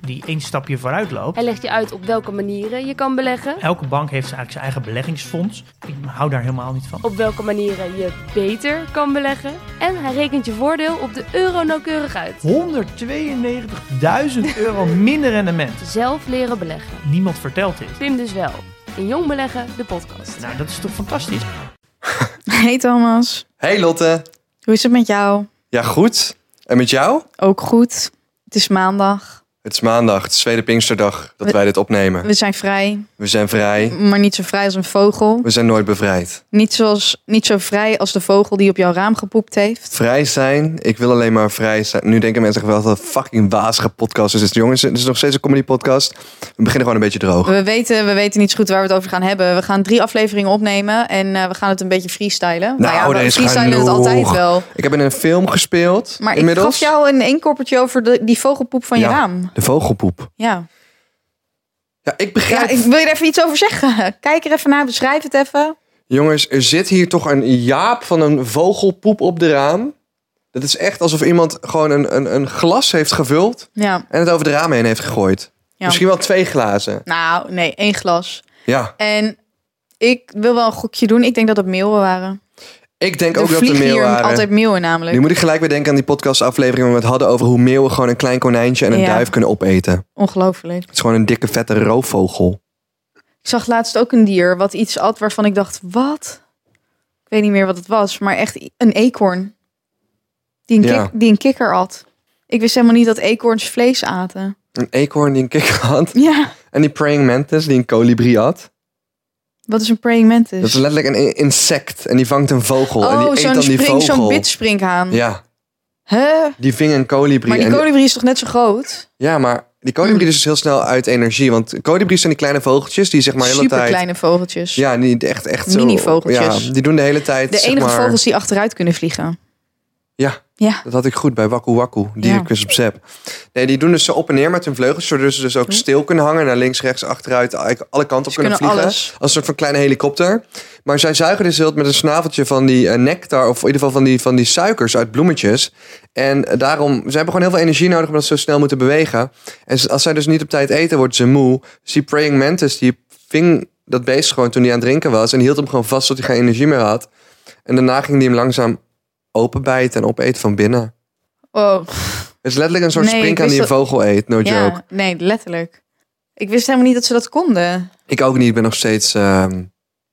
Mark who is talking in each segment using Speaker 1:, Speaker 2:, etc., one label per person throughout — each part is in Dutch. Speaker 1: die één stapje vooruit loopt.
Speaker 2: Hij legt je uit op welke manieren je kan beleggen.
Speaker 1: Elke bank heeft eigenlijk zijn eigen beleggingsfonds. Ik hou daar helemaal niet van.
Speaker 2: Op welke manieren je beter kan beleggen. En hij rekent je voordeel op de euro nauwkeurig uit.
Speaker 1: 192.000 euro minder rendement.
Speaker 2: Zelf leren beleggen.
Speaker 1: Niemand vertelt dit.
Speaker 2: Pim dus wel. In Jong Beleggen, de podcast.
Speaker 1: Nou, dat is toch fantastisch?
Speaker 3: Hey Thomas,
Speaker 4: Hey Lotte.
Speaker 3: hoe is het met jou?
Speaker 4: Ja, goed. En met jou?
Speaker 3: Ook goed. Het is maandag.
Speaker 4: Het is maandag, het is tweede Pinksterdag dat
Speaker 3: We-
Speaker 4: wij dit opnemen.
Speaker 3: We zijn vrij,
Speaker 4: We zijn vrij.
Speaker 3: maar niet zo vrij als een vogel.
Speaker 4: We zijn nooit bevrijd.
Speaker 3: Niet, zoals, niet zo vrij als de vogel die op jouw raam gepoept heeft.
Speaker 4: Vrij zijn, ik wil alleen maar vrij zijn. Nu denken mensen echt wel dat het een fucking wazige podcast is. Dus jongens, het is nog steeds een comedy podcast. We beginnen gewoon een beetje droog.
Speaker 3: We weten, we weten niet zo goed waar we het over gaan hebben. We gaan drie afleveringen opnemen en eh, we gaan het een beetje freestylen. Nou,
Speaker 4: er
Speaker 3: we
Speaker 4: is
Speaker 3: freestylen het
Speaker 4: genoeg.
Speaker 3: altijd wel.
Speaker 4: Ik heb in een film gespeeld
Speaker 3: Maar
Speaker 4: inmiddels.
Speaker 3: ik gaf jou een inkoppertje over de, die vogelpoep van je
Speaker 4: Ja.
Speaker 3: raam.
Speaker 4: De vogelpoep.
Speaker 3: Ja.
Speaker 4: Ja, ik
Speaker 3: ja,
Speaker 4: begrijp.
Speaker 3: ik wil je er even iets over zeggen. Kijk er even naar, beschrijf het even.
Speaker 4: Jongens, er zit hier toch een jaap van een vogelpoep op de raam. Dat is echt alsof iemand gewoon een, een, een glas heeft gevuld.
Speaker 3: Ja.
Speaker 4: En het over de ramen heen heeft gegooid.
Speaker 3: Ja.
Speaker 4: Misschien wel twee glazen.
Speaker 3: Nou, nee, één glas.
Speaker 4: Ja.
Speaker 3: En ik wil wel een gokje doen. Ik denk dat het meeuwen waren.
Speaker 4: Ik denk
Speaker 3: er
Speaker 4: ook dat er
Speaker 3: vliegen
Speaker 4: meeuwen
Speaker 3: hier
Speaker 4: waren.
Speaker 3: altijd meeuwen namelijk.
Speaker 4: Nu moet ik gelijk weer denken aan die podcastaflevering... waar we het hadden over hoe meeuwen gewoon een klein konijntje en een
Speaker 3: Ja.
Speaker 4: duif kunnen opeten.
Speaker 3: Ongelooflijk.
Speaker 4: Het is gewoon een dikke, vette roofvogel.
Speaker 3: Ik zag laatst ook een dier wat iets at waarvan ik dacht, wat? Ik weet niet meer wat het was, maar echt i- een eekhoorn. Die een,
Speaker 4: Ja.
Speaker 3: kik- die een kikker at. Ik wist helemaal niet dat eekhoorns vlees aten.
Speaker 4: Een eekhoorn die een kikker had.
Speaker 3: Ja.
Speaker 4: En die praying mantis die een kolibrie
Speaker 3: Dus-
Speaker 4: had.
Speaker 3: Wat is een praying mantis?
Speaker 4: Dat is letterlijk een i- insect. En die vangt een vogel. en die
Speaker 3: oh,
Speaker 4: eet dan
Speaker 3: zo'n
Speaker 4: die
Speaker 3: spring,
Speaker 4: vogel.
Speaker 3: zo'n bitspringhaan.
Speaker 4: Ja,
Speaker 3: Huh?
Speaker 4: die ving een
Speaker 3: Maar
Speaker 4: kolibrie.
Speaker 3: die Hmm.
Speaker 4: en die-
Speaker 3: kolibrie is toch net zo groot?
Speaker 4: ja, maar die kolibrie is dus heel snel uit energie. Want kolibries zijn die kleine vogeltjes die zeg maar de hele
Speaker 3: Super
Speaker 4: tijd...
Speaker 3: kleine vogeltjes.
Speaker 4: Ja, niet echt, echt zo.
Speaker 3: Mini-vogeltjes.
Speaker 4: Ja, die doen de hele tijd.
Speaker 3: De
Speaker 4: zeg
Speaker 3: enige
Speaker 4: maar,
Speaker 3: vogels die achteruit kunnen vliegen.
Speaker 4: Ja.
Speaker 3: Ja.
Speaker 4: Dat had ik goed bij Waku Waku, dierenquiz dus op Zep. Nee, die doen dus zo op en neer met hun vleugels, zodat ze dus ook stil kunnen hangen, naar links, rechts, achteruit, eigenlijk alle kanten op
Speaker 3: Hm? Ze
Speaker 4: kunnen,
Speaker 3: kunnen
Speaker 4: vliegen.
Speaker 3: alles.
Speaker 4: Als een soort van kleine helikopter. Maar zij zuigen dus heel met een snaveltje van die eh, nectar, of in ieder geval van die, van die suikers uit bloemetjes. En eh, daarom, ze hebben gewoon heel veel energie nodig omdat ze zo snel moeten bewegen. En ze- als zij dus niet op tijd eten, worden ze moe. Dus die praying mantis, die ving dat beest gewoon toen hij aan het drinken was. En die hield hem gewoon vast tot hij geen energie meer had. En daarna ging hij hem langzaam openbijten en opeten van binnen.
Speaker 3: Oh,
Speaker 4: Het is letterlijk een soort
Speaker 3: Nee, ik
Speaker 4: springhaan die een
Speaker 3: wist
Speaker 4: vogel eet, no
Speaker 3: ja.
Speaker 4: joke.
Speaker 3: Nee, letterlijk. Ik wist helemaal niet dat ze dat konden.
Speaker 4: Ik ook niet, ik ben nog steeds ehm,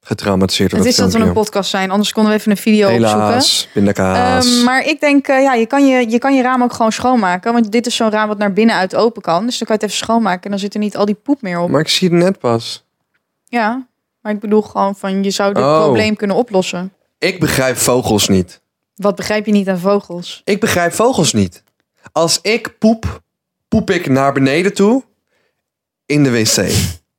Speaker 4: getraumatiseerd door
Speaker 3: het
Speaker 4: dat
Speaker 3: is dat we een
Speaker 4: filmpje.
Speaker 3: podcast zijn, anders konden we even een video opzoeken.
Speaker 4: Helaas, pindakaas.
Speaker 3: Ehm, maar ik denk, eh, ja, je kan je, je kan je raam ook gewoon schoonmaken. Want dit is zo'n raam wat naar binnen uit open kan. Dus dan kan je het even schoonmaken en dan zit er niet al die poep meer op.
Speaker 4: maar ik zie het net pas.
Speaker 3: Ja, maar ik bedoel gewoon van, je zou dit
Speaker 4: Oh.
Speaker 3: probleem kunnen oplossen.
Speaker 4: Ik begrijp vogels niet.
Speaker 3: Wat begrijp je niet aan vogels?
Speaker 4: Ik begrijp vogels niet. Als ik poep, poep ik naar beneden toe in de wc.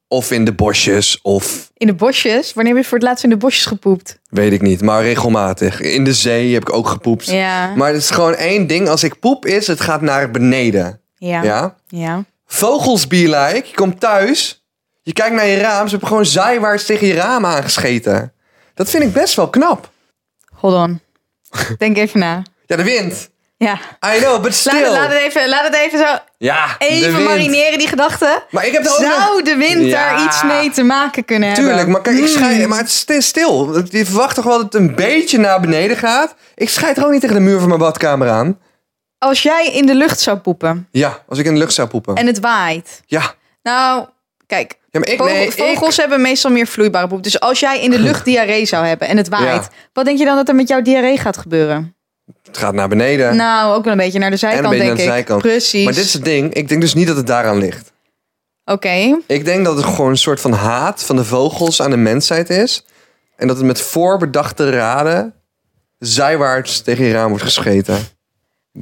Speaker 4: of in de bosjes, of
Speaker 3: In de bosjes? Wanneer heb je voor het laatst in de bosjes gepoept?
Speaker 4: weet ik niet, maar regelmatig. In de zee heb ik ook gepoept.
Speaker 3: Ja,
Speaker 4: Maar het is gewoon één ding. Als ik poep is, het gaat naar beneden.
Speaker 3: ja, ja.
Speaker 4: ja? Vogels be like. Je komt thuis. Je kijkt naar je raam. Ze hebben gewoon zijwaarts tegen je raam aangescheten. Dat vind ik best wel knap.
Speaker 3: Hold on. Denk even na.
Speaker 4: Ja, de wind.
Speaker 3: Ja.
Speaker 4: I
Speaker 3: Laat,
Speaker 4: know, but
Speaker 3: het-
Speaker 4: still.
Speaker 3: laat, het even, laat het even zo
Speaker 4: Ja, de
Speaker 3: even
Speaker 4: wind.
Speaker 3: marineren, die gedachten.
Speaker 4: Maar ik heb er ook nog...
Speaker 3: Zou de wind daar
Speaker 4: Ja.
Speaker 3: iets mee te maken kunnen hebben?
Speaker 4: Tuurlijk, maar kijk, ik
Speaker 3: Mm.
Speaker 4: schij... Maar het is sti- stil. Je verwacht toch wel dat het een beetje naar beneden gaat? Ik schijt er ook niet tegen de muur van mijn badkamer aan.
Speaker 3: Als jij in de lucht zou poepen
Speaker 4: Ja, als ik in de lucht zou poepen.
Speaker 3: en het waait.
Speaker 4: Ja.
Speaker 3: Nou, kijk,
Speaker 4: ja, maar ik...
Speaker 3: vogel-
Speaker 4: Nee, ik...
Speaker 3: vogels hebben meestal meer vloeibare poep. Dus als jij in de lucht diarree zou hebben en het waait,
Speaker 4: Ja.
Speaker 3: wat denk je dan dat er met jouw diarree gaat gebeuren?
Speaker 4: Het gaat naar beneden.
Speaker 3: Nou, ook wel een beetje naar de zijkant,
Speaker 4: beetje
Speaker 3: denk
Speaker 4: naar de
Speaker 3: ik.
Speaker 4: zijkant.
Speaker 3: Precies.
Speaker 4: Maar dit is het ding. Ik denk dus niet dat het daaraan ligt.
Speaker 3: Oké,
Speaker 4: Ik denk dat het gewoon een soort van haat van de vogels aan de mensheid is. En dat het met voorbedachte raden zijwaarts tegen je raam wordt gescheten.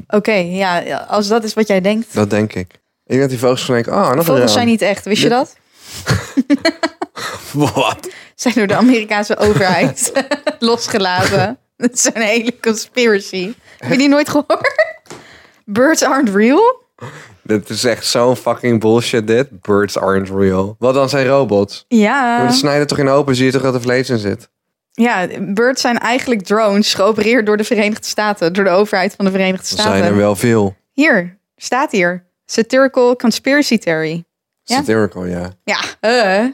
Speaker 3: oké. ja, als dat is wat jij denkt.
Speaker 4: Dat denk ik. Ik denk dat die vogels gewoon denken, ah, nog
Speaker 3: Vogels zijn
Speaker 4: een
Speaker 3: niet echt, wist je
Speaker 4: Dit-
Speaker 3: dat?
Speaker 4: raam. Wat?
Speaker 3: zijn door de Amerikaanse overheid losgelaten. Dat is een hele conspiracy. Heb je die nooit gehoord? Birds aren't real?
Speaker 4: Dit is echt zo'n fucking bullshit dit. Birds aren't real. Wat dan zijn robots?
Speaker 3: Ja.
Speaker 4: We snijden toch in open, zie je toch dat er vlees in zit?
Speaker 3: ja, birds zijn eigenlijk drones, geopereerd door de Verenigde Staten, door de overheid van de Verenigde
Speaker 4: Er
Speaker 3: Staten.
Speaker 4: zijn er wel veel.
Speaker 3: Hier, staat hier. Satirical conspiracy theory. Ja?
Speaker 4: Satirical, ja.
Speaker 3: Ja, eh.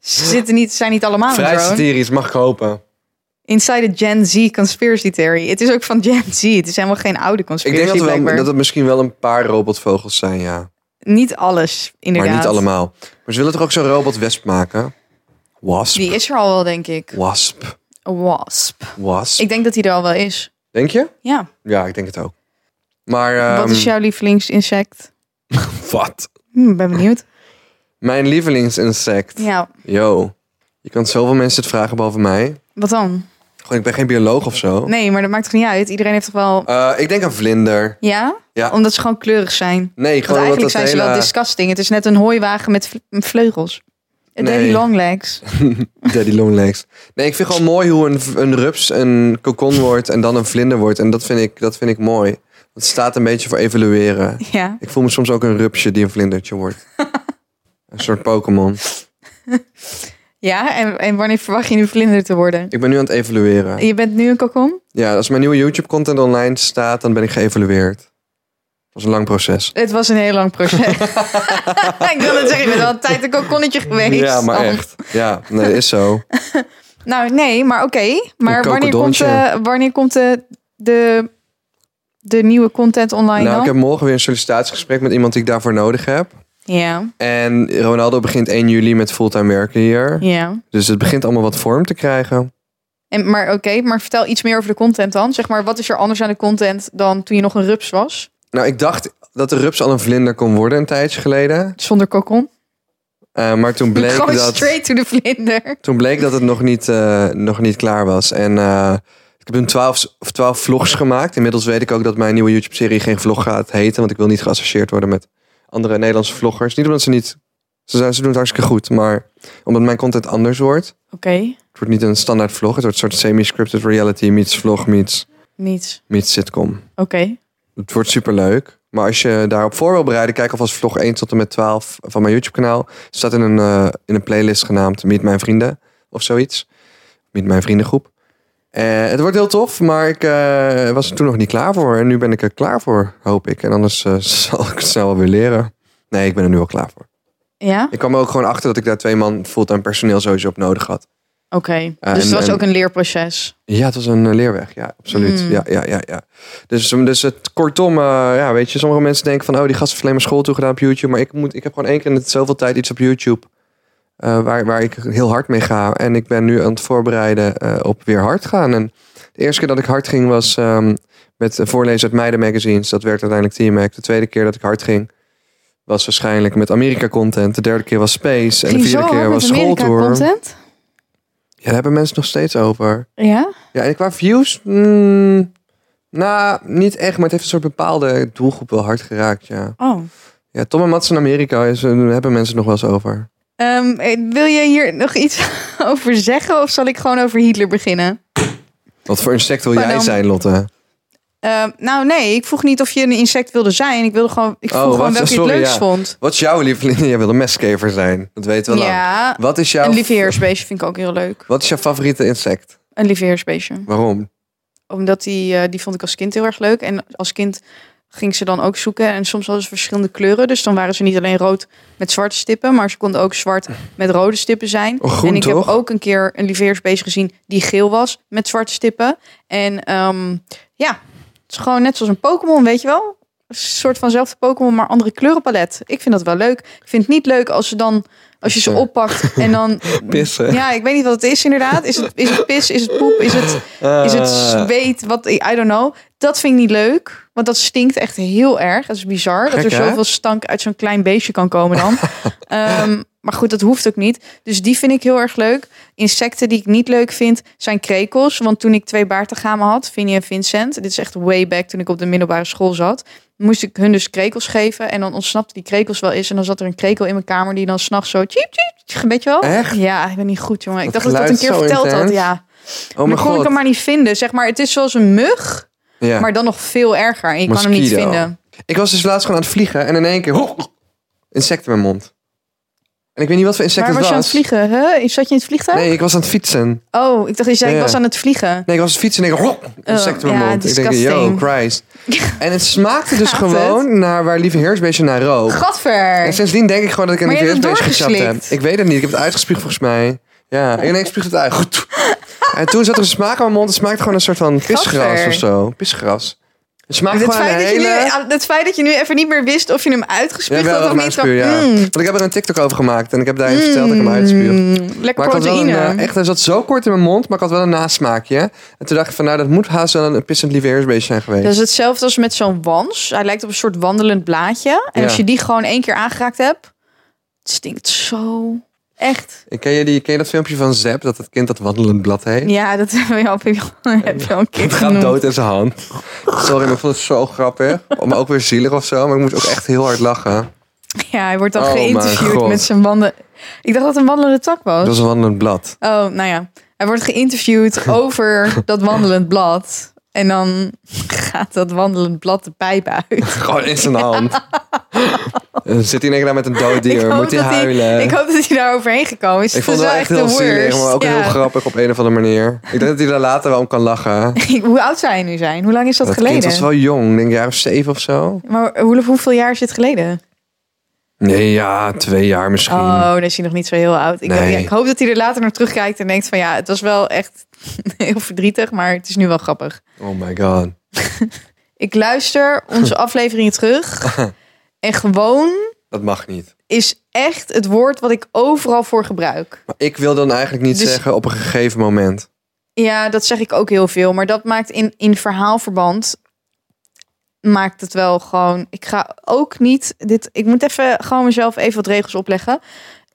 Speaker 3: Ze zitten niet, zijn niet allemaal een
Speaker 4: Vrij
Speaker 3: drone.
Speaker 4: satirisch, mag ik hopen.
Speaker 3: Inside the Gen Z conspiracy theory. Het is ook van Gen Z. Het is helemaal geen oude
Speaker 4: Ik
Speaker 3: conspiracy
Speaker 4: denk dat, er wel,
Speaker 3: blijkbaar.
Speaker 4: dat het misschien wel een paar robotvogels zijn, ja.
Speaker 3: Niet alles, inderdaad.
Speaker 4: Maar niet allemaal. Maar ze willen toch ook zo'n robotwesp maken? Wasp.
Speaker 3: Die is er al wel, denk ik.
Speaker 4: Wasp.
Speaker 3: Een wasp.
Speaker 4: Wasp.
Speaker 3: Ik denk dat die er al wel is.
Speaker 4: Denk je?
Speaker 3: Ja.
Speaker 4: Ja, ik denk het ook. Maar ehm,
Speaker 3: Wat is jouw lievelingsinsect?
Speaker 4: wat?
Speaker 3: Hm, ben benieuwd.
Speaker 4: Mijn lievelingsinsect.
Speaker 3: Ja,
Speaker 4: Yo. Je kan zoveel mensen het vragen boven mij.
Speaker 3: wat dan?
Speaker 4: Gewoon, ik ben geen bioloog of zo.
Speaker 3: Nee, maar dat maakt toch niet uit? Iedereen heeft toch wel...
Speaker 4: Eh, ik denk een vlinder.
Speaker 3: Ja?
Speaker 4: Ja.
Speaker 3: Omdat ze gewoon kleurig zijn.
Speaker 4: Nee,
Speaker 3: Want
Speaker 4: gewoon omdat
Speaker 3: eigenlijk
Speaker 4: dat
Speaker 3: zijn
Speaker 4: hele...
Speaker 3: ze wel disgusting. Het is net een hooiwagen met vle- vleugels. Een
Speaker 4: Nee.
Speaker 3: Daddy long legs.
Speaker 4: Daddy long legs. Nee, ik vind gewoon mooi hoe een, een rups een kokon wordt en dan een vlinder wordt. En dat vind ik, dat vind ik mooi. Dat staat een beetje voor evolueren.
Speaker 3: Ja.
Speaker 4: Ik voel me soms ook een rupsje die een vlindertje wordt. een soort Pokémon.
Speaker 3: Ja, en, en wanneer verwacht je nu vlinder te worden?
Speaker 4: Ik ben nu aan het evolueren.
Speaker 3: Je bent nu een kokon?
Speaker 4: Ja, als mijn nieuwe YouTube-content online staat, dan ben ik geëvalueerd. Dat was een lang proces.
Speaker 3: Het was een heel lang proces. ik wil het zeggen, je bent al een tijd een kokonnetje geweest.
Speaker 4: Ja, maar
Speaker 3: Dan.
Speaker 4: echt. Ja, nee, dat is zo.
Speaker 3: Nou, nee, maar oké. Maar
Speaker 4: Een
Speaker 3: wanneer komt,
Speaker 4: kokodontje.
Speaker 3: eh, wanneer komt eh, de, de nieuwe content online
Speaker 4: Nou, ik
Speaker 3: dan?
Speaker 4: heb morgen weer een sollicitatiegesprek met iemand die ik daarvoor nodig heb.
Speaker 3: Ja,
Speaker 4: En Ronaldo begint 1 juli met fulltime werken hier.
Speaker 3: ja.
Speaker 4: Dus het begint allemaal wat vorm te krijgen.
Speaker 3: En, maar oké, maar vertel iets meer over de content dan. Zeg maar, wat is er anders aan de content dan toen je nog een rups was?
Speaker 4: Nou, ik dacht dat de rups al een vlinder kon worden een tijdje geleden.
Speaker 3: Zonder kokon.
Speaker 4: Eh, maar toen bleek,
Speaker 3: Gewoon
Speaker 4: dat,
Speaker 3: straight to the vlinder.
Speaker 4: toen bleek dat het nog niet, eh, nog niet klaar was. En eh, ik heb toen 12, s- of 12 vlogs gemaakt. Inmiddels weet ik ook dat mijn nieuwe YouTube-serie geen vlog gaat heten. Want ik wil niet geassocieerd worden met andere Nederlandse vloggers. Niet omdat ze niet... Ze, zijn, ze doen het hartstikke goed. Maar omdat mijn content anders wordt.
Speaker 3: Oké,
Speaker 4: Het wordt niet een standaard vlog. Het wordt een soort semi-scripted reality meets vlog meets,
Speaker 3: niets.
Speaker 4: meets sitcom.
Speaker 3: Oké.
Speaker 4: Het wordt superleuk. Maar als je daarop voor wil bereiden, kijk alvast vlog 1 tot en met 12 van mijn YouTube-kanaal. Het staat in een, eh, in een playlist genaamd Meet Mijn Vrienden of zoiets. Meet Mijn Vriendengroep. Eh, het wordt heel tof, maar ik eh, was er toen nog niet klaar voor. En nu ben ik er klaar voor, hoop ik. En anders eh, zal ik het snel wel weer leren. Nee, ik ben er nu al klaar voor.
Speaker 3: Ja, oké.
Speaker 4: Ik kwam er ook gewoon achter dat ik daar twee man fulltime personeel sowieso op nodig had.
Speaker 3: dus het
Speaker 4: en-
Speaker 3: was
Speaker 4: en-
Speaker 3: ook een leerproces.
Speaker 4: Ja, het was een eh, leerweg. Ja, absoluut.
Speaker 3: Mm.
Speaker 4: Ja, ja, ja, ja. Dus, dus het, kortom, eh, ja, weet je, sommige mensen denken van, oh, die gast heeft alleen maar school toegedaan op YouTube. Maar ik, moet, ik heb gewoon één keer in het zoveel tijd iets op YouTube eh, waar, waar ik heel hard mee ga. En ik ben nu aan het voorbereiden eh, op weer hard gaan. En de eerste keer dat ik hard ging was ehm, met een voorlezen uit Meiden Magazines. Dat werd uiteindelijk Team Mac. De tweede keer dat ik hard ging was waarschijnlijk met Amerika content. De derde keer was Space. En de
Speaker 3: Ging zo
Speaker 4: vierde
Speaker 3: hard
Speaker 4: keer
Speaker 3: met
Speaker 4: was
Speaker 3: Amerika
Speaker 4: schooltour. Ja,
Speaker 3: content?
Speaker 4: daar hebben mensen nog steeds over.
Speaker 3: Ja?
Speaker 4: Ja, en qua views, mm, nou, niet echt, maar het heeft een soort bepaalde doelgroep wel hard geraakt, ja.
Speaker 3: Oh.
Speaker 4: Ja, Tom en Mats in Amerika is, eh, hebben mensen het nog wel eens over.
Speaker 3: Ehm, eh, wil je hier nog iets over zeggen of zal ik gewoon over Hitler beginnen?
Speaker 4: Wat voor insect wil
Speaker 3: Maar
Speaker 4: jij
Speaker 3: dan-
Speaker 4: zijn, Lotte?
Speaker 3: Ehm, nou nee, ik vroeg niet of je een insect wilde zijn. Ik wilde gewoon, ik vroeg
Speaker 4: Oh,
Speaker 3: gewoon
Speaker 4: wacht,
Speaker 3: welke je het
Speaker 4: sorry,
Speaker 3: leukst
Speaker 4: ja.
Speaker 3: vond.
Speaker 4: Wat is jouw lieveling? Jij wil een mestkever zijn, dat weten we lang.
Speaker 3: Ja,
Speaker 4: Wat is, jouw,
Speaker 3: een lieveheersbeestje vind ik ook heel leuk.
Speaker 4: wat is jouw favoriete insect?
Speaker 3: Een lieveheersbeestje.
Speaker 4: Waarom?
Speaker 3: Omdat die, eh, die vond ik als kind heel erg leuk. En als kind ging ze dan ook zoeken. En soms hadden ze verschillende kleuren. Dus dan waren ze niet alleen rood met zwarte stippen. Maar ze konden ook zwart met rode stippen zijn.
Speaker 4: Oh, groen
Speaker 3: en ik
Speaker 4: toch?
Speaker 3: heb ook een keer een lieveheersbeestje gezien die geel was met zwarte stippen. En ehm, ja, het is gewoon net zoals een Pokémon, weet je wel? Een soort vanzelfde Pokémon, maar andere kleurenpalet. Ik vind dat wel leuk. Ik vind het niet leuk als ze dan... Als je ze
Speaker 4: Pissen.
Speaker 3: oppakt en dan...
Speaker 4: Pissen.
Speaker 3: Ja, ik weet niet wat het is inderdaad. Is het, is het pis? Is het poep? Is het...
Speaker 4: Ah.
Speaker 3: Is het
Speaker 4: Eh.
Speaker 3: zweet? Wat, I don't know. Dat vind ik niet leuk. Want dat stinkt echt heel erg. Dat is bizar. dat
Speaker 4: Gek,
Speaker 3: er
Speaker 4: hè?
Speaker 3: zoveel stank uit zo'n klein beestje kan komen dan. Ehm, maar goed, dat hoeft ook niet. Dus die vind ik heel erg leuk. Insecten die ik niet leuk vind zijn krekels. Want toen ik twee baartegamen had, Vinnie en Vincent. Dit is echt way back toen ik op de middelbare school zat. Moest ik hun dus krekels geven. En dan ontsnapte die krekels wel eens. En dan zat er een krekel in mijn kamer die dan s'nachts zo... Tjiep, tjiep, weet je wel?
Speaker 4: Echt?
Speaker 3: Ja, ik ben niet goed, jongen. Ik
Speaker 4: Dat
Speaker 3: dacht dat ik dat een
Speaker 4: geluid
Speaker 3: keer
Speaker 4: zo
Speaker 3: verteld had.
Speaker 4: intens.
Speaker 3: Ja.
Speaker 4: oh
Speaker 3: Maar
Speaker 4: mijn
Speaker 3: kon ik
Speaker 4: god.
Speaker 3: hem maar niet vinden. Zeg maar, het is zoals een mug,
Speaker 4: ja.
Speaker 3: maar dan nog veel erger. En je kan hem niet
Speaker 4: Mosquito.
Speaker 3: vinden.
Speaker 4: Ik was dus laatst gewoon aan het vliegen en in één keer... hoek, insect in mijn mond. En ik weet niet wat voor insect
Speaker 3: Waar
Speaker 4: het
Speaker 3: was je aan het
Speaker 4: was.
Speaker 3: vliegen? Huh? Zat je in het vliegtuig?
Speaker 4: Nee, ik was aan het fietsen.
Speaker 3: Oh, ik dacht je zei
Speaker 4: Ja,
Speaker 3: ik
Speaker 4: ja.
Speaker 3: was aan het vliegen.
Speaker 4: Nee, ik was aan het fietsen en ik... hoek, insect in mijn
Speaker 3: Oh, ja,
Speaker 4: mond. Ik denk, yo,
Speaker 3: disgusting.
Speaker 4: Christ. En het smaakte dus
Speaker 3: Gaat het?
Speaker 4: gewoon naar waar Lieve Heersbeestje naar rook. En
Speaker 3: Gadver.
Speaker 4: sindsdien denk Oh. ik gewoon dat ik een
Speaker 3: Maar je hebt het
Speaker 4: veerbeestje gechapt heb.
Speaker 3: doorgeslikt.
Speaker 4: Ik weet het niet. Ik heb het uitgespuugd volgens mij. Ja, en ineens spuugt het uit. Goed. En toen zat er een smaak aan mijn mond. Het smaakte gewoon een soort van pisgras
Speaker 3: Gadver.
Speaker 4: of zo. Pisgras. Het smaakt
Speaker 3: Het
Speaker 4: gewoon een
Speaker 3: feit, dat je
Speaker 4: hele...
Speaker 3: nu, het feit dat je nu even niet meer wist of je hem
Speaker 4: Ja,
Speaker 3: uitgespuugd
Speaker 4: wel
Speaker 3: had
Speaker 4: dat
Speaker 3: of
Speaker 4: mijn
Speaker 3: niet. van,
Speaker 4: spuur, ja.
Speaker 3: mm,
Speaker 4: Want ik heb er een TikTok over gemaakt. En ik heb daarin verteld dat ik hem uitspuug.
Speaker 3: mm,
Speaker 4: Maar
Speaker 3: lekker
Speaker 4: ik had wel een,
Speaker 3: proteïne.
Speaker 4: eh, echt, hij zat zo kort in mijn mond, maar ik had wel een nasmaakje. En toen dacht ik van, nou, dat moet haast wel een pissend lieve heersbeestje zijn geweest.
Speaker 3: Dat is hetzelfde als met zo'n wans. Hij lijkt op een soort wandelend blaadje. En
Speaker 4: Ja.
Speaker 3: als je die gewoon één keer aangeraakt hebt, het stinkt zo. Echt.
Speaker 4: En Ken, je die, ken je dat filmpje van Zep, dat het kind dat wandelend blad heet?
Speaker 3: Ja, dat heb je al, heb je al- heb je al een keer
Speaker 4: Het gaat
Speaker 3: genoemd.
Speaker 4: dood in zijn hand. Sorry, maar ik vond het zo grappig. Maar ook weer zielig of zo. Maar ik moest ook echt heel hard lachen.
Speaker 3: Ja, hij wordt dan
Speaker 4: Oh, mijn
Speaker 3: geïnterviewd
Speaker 4: God.
Speaker 3: met zijn wanden. Ik dacht dat het een wandelende tak was.
Speaker 4: Dat was een wandelend blad.
Speaker 3: Oh, nou ja. Hij wordt geïnterviewd over dat wandelend blad. En dan gaat dat wandelend blad de pijp uit.
Speaker 4: Gewoon in zijn hand. En zit hij in één keer daar met een dood
Speaker 3: Ik
Speaker 4: dier.
Speaker 3: hoop
Speaker 4: Moet hij
Speaker 3: dat hij-
Speaker 4: huilen.
Speaker 3: Ik hoop dat hij daar overheen gekomen is.
Speaker 4: Eh. Ik vond
Speaker 3: het
Speaker 4: het
Speaker 3: is
Speaker 4: wel
Speaker 3: wel
Speaker 4: echt heel
Speaker 3: de
Speaker 4: zielig,
Speaker 3: worst.
Speaker 4: maar ook
Speaker 3: Ja.
Speaker 4: heel grappig op een of andere manier. Ik denk dat hij daar later wel om kan lachen.
Speaker 3: Ik- Hoe oud zou hij nu zijn? Hoe lang is dat,
Speaker 4: Dat
Speaker 3: geleden?
Speaker 4: kind was wel jong, ik denk een jaar of zeven of zo.
Speaker 3: Maar hoe, hoeveel jaar is dit geleden?
Speaker 4: Nee, ja, twee jaar misschien.
Speaker 3: Oh, dan is hij nog niet zo heel oud. Ik,
Speaker 4: Nee.
Speaker 3: ja, ik hoop dat hij er later naar terugkijkt en denkt van ja, het was wel echt heel verdrietig, maar het is nu wel grappig.
Speaker 4: Oh my god.
Speaker 3: Ik luister onze afleveringen terug en gewoon
Speaker 4: Dat mag niet.
Speaker 3: is echt het woord wat ik overal voor gebruik.
Speaker 4: Maar ik wil dan eigenlijk niet
Speaker 3: Dus-
Speaker 4: zeggen op een gegeven moment.
Speaker 3: Ja, dat zeg ik ook heel veel, maar dat maakt in, in verhaalverband maakt het wel gewoon. Ik ga ook niet dit. Ik moet even gewoon mezelf even wat regels opleggen.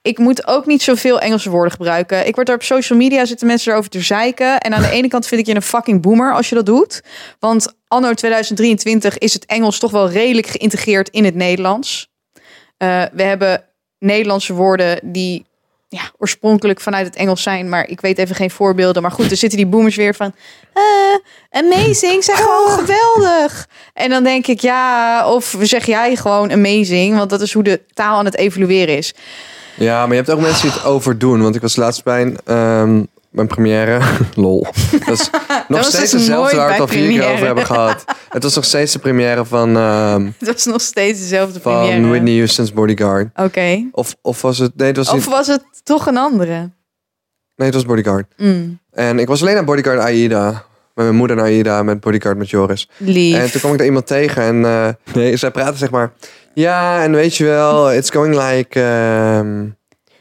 Speaker 3: Ik moet ook niet zoveel Engelse woorden gebruiken. Ik word daar op social media zitten mensen erover te zeiken. En aan de ene kant vind ik je een fucking boomer als je dat doet. Want anno 2023 is het Engels toch wel redelijk geïntegreerd in het Nederlands. Eh, we hebben Nederlandse woorden die ja, oorspronkelijk vanuit het Engels zijn. Maar ik weet even geen voorbeelden. Maar goed, er zitten die boomers weer van... eh, amazing, zeg gewoon geweldig. En dan denk ik, ja, of zeg jij gewoon amazing. Want dat is hoe de taal aan het evolueren is.
Speaker 4: Ja, maar je hebt ook mensen die het overdoen. Want ik was laatst bij een, ehm, mijn première. Lol. Dat is nog
Speaker 3: was dus
Speaker 4: steeds dezelfde
Speaker 3: nooit
Speaker 4: waar we het
Speaker 3: bij
Speaker 4: al vier keer
Speaker 3: première.
Speaker 4: over hebben gehad. Het was nog steeds de première van, ehm,
Speaker 3: Het was nog steeds dezelfde
Speaker 4: van
Speaker 3: première.
Speaker 4: Whitney Houston's Bodyguard.
Speaker 3: Oké.
Speaker 4: Of, of was het... Nee het was,
Speaker 3: Of
Speaker 4: niet,
Speaker 3: was het toch een andere?
Speaker 4: nee, het was Bodyguard.
Speaker 3: Mm,
Speaker 4: En ik was alleen naar Bodyguard Aida. Met mijn moeder naar Aida, met Bodyguard met Joris.
Speaker 3: lief.
Speaker 4: En toen kwam ik daar iemand tegen en eh, nee, zij praten zeg maar. Ja, en weet je wel, it's going like ehm,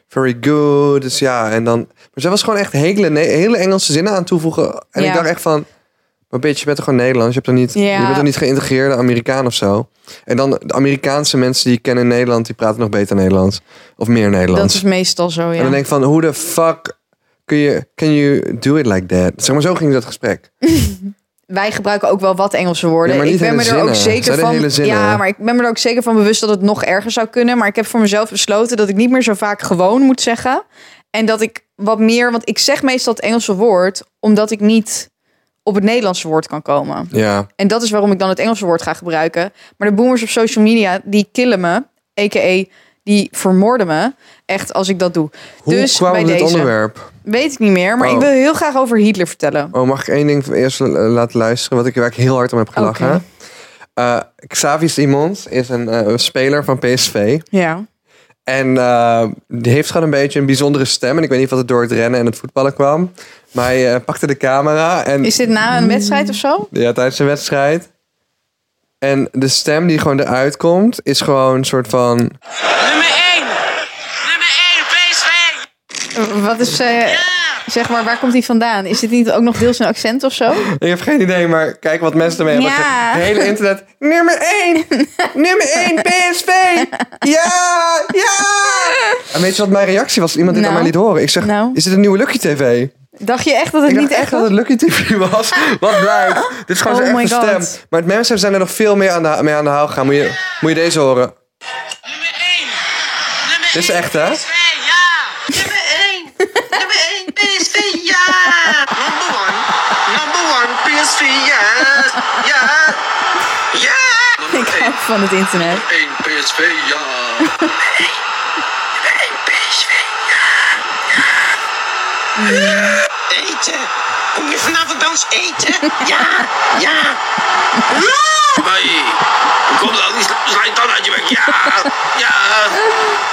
Speaker 4: very good. Dus ja, en dan. Maar zij was gewoon echt hele, ne- hele Engelse zinnen aan toevoegen. En ik
Speaker 3: Ja.
Speaker 4: dacht echt van. Maar bitch, je bent toch gewoon Nederlands? Je, hebt toch niet,
Speaker 3: Ja.
Speaker 4: je bent toch niet geïntegreerde Amerikaan of zo? En dan de Amerikaanse mensen die ik ken in Nederland, die praten nog beter Nederlands. Of meer
Speaker 3: dat
Speaker 4: Nederlands.
Speaker 3: is meestal zo,
Speaker 4: En
Speaker 3: ja.
Speaker 4: dan denk ik van, hoe de fuck kun je, can you do it like that? Zeg maar, zo ging dat gesprek.
Speaker 3: wij gebruiken ook wel wat Engelse woorden.
Speaker 4: Ja, maar
Speaker 3: ik
Speaker 4: niet
Speaker 3: ben me
Speaker 4: hele
Speaker 3: er ook
Speaker 4: zinnen.
Speaker 3: zeker
Speaker 4: Zijn er
Speaker 3: van.
Speaker 4: hele zinnen?
Speaker 3: ja, maar ik ben me er ook zeker van bewust dat het nog erger zou kunnen. Maar ik heb voor mezelf besloten dat ik niet meer zo vaak gewoon moet zeggen. En dat ik wat meer, want ik zeg meestal het Engelse woord, omdat ik niet op het Nederlandse woord kan komen.
Speaker 4: Ja,
Speaker 3: En dat is waarom ik dan het Engelse woord ga gebruiken. Maar de boomers op social media, die killen me. A.k.a. die vermoorden me. Echt als ik dat doe.
Speaker 4: hoe
Speaker 3: dus
Speaker 4: kwam
Speaker 3: bij
Speaker 4: dit
Speaker 3: deze
Speaker 4: onderwerp?
Speaker 3: weet ik niet meer. Maar
Speaker 4: Oh.
Speaker 3: ik wil heel graag over Hitler vertellen.
Speaker 4: Oh, mag ik één ding eerst eh, laten luisteren, wat ik waar ik heel hard om heb gelachen?
Speaker 3: Oké.
Speaker 4: Eh, Xavi Simons is een eh, speler van PSV.
Speaker 3: Ja.
Speaker 4: En eh, die heeft gewoon een beetje een bijzondere stem. En ik weet niet of het door het rennen en het voetballen kwam. Maar hij eh, pakte de camera en
Speaker 3: Is dit na een wedstrijd of zo?
Speaker 4: ja, tijdens een wedstrijd. En de stem die gewoon eruit komt, is gewoon een soort van...
Speaker 5: Nummer 1. Nummer 1, PSV.
Speaker 3: Wat is, eh, zeg maar, waar komt die vandaan? Is dit niet ook nog deels een accent of zo?
Speaker 4: Ik heb geen idee, maar kijk wat mensen ermee hebben.
Speaker 3: Ja.
Speaker 4: Het hele internet. Nummer 1! nummer 1 PSV! Ja! Ja! En weet je wat mijn reactie was? Iemand die het
Speaker 3: Nou.
Speaker 4: aan mij liet horen. Ik zeg,
Speaker 3: Nou.
Speaker 4: is dit een nieuwe Lucky TV?
Speaker 3: Dacht je echt dat het
Speaker 4: Ik
Speaker 3: niet
Speaker 4: dacht
Speaker 3: echt
Speaker 4: echt dat het Lucky TV was. Wat blijkt. Dit is gewoon
Speaker 3: Oh
Speaker 4: zijn
Speaker 3: my
Speaker 4: echte
Speaker 3: God.
Speaker 4: stem. Maar het mensen zijn er nog veel meer aan de, mee aan de haal gegaan. Moet je, moet je deze horen.
Speaker 5: Nummer 1. Nummer
Speaker 4: Dit is
Speaker 5: 1,
Speaker 4: echt, hè?
Speaker 5: PSV, ja. Nummer 1. Nummer 1, PSV, ja. Number 1. Number 1, PSV, ja. Ja. Ja.
Speaker 3: Ik af van het internet.
Speaker 5: 1 PSV, ja. Nummer 1 PSV, ja. Ja. Eten. Kom je vanavond bij ons eten? Ja, ja. Hoi. Hoe komt dat? Die sla- sla je tand uit je bek. Ja, ja.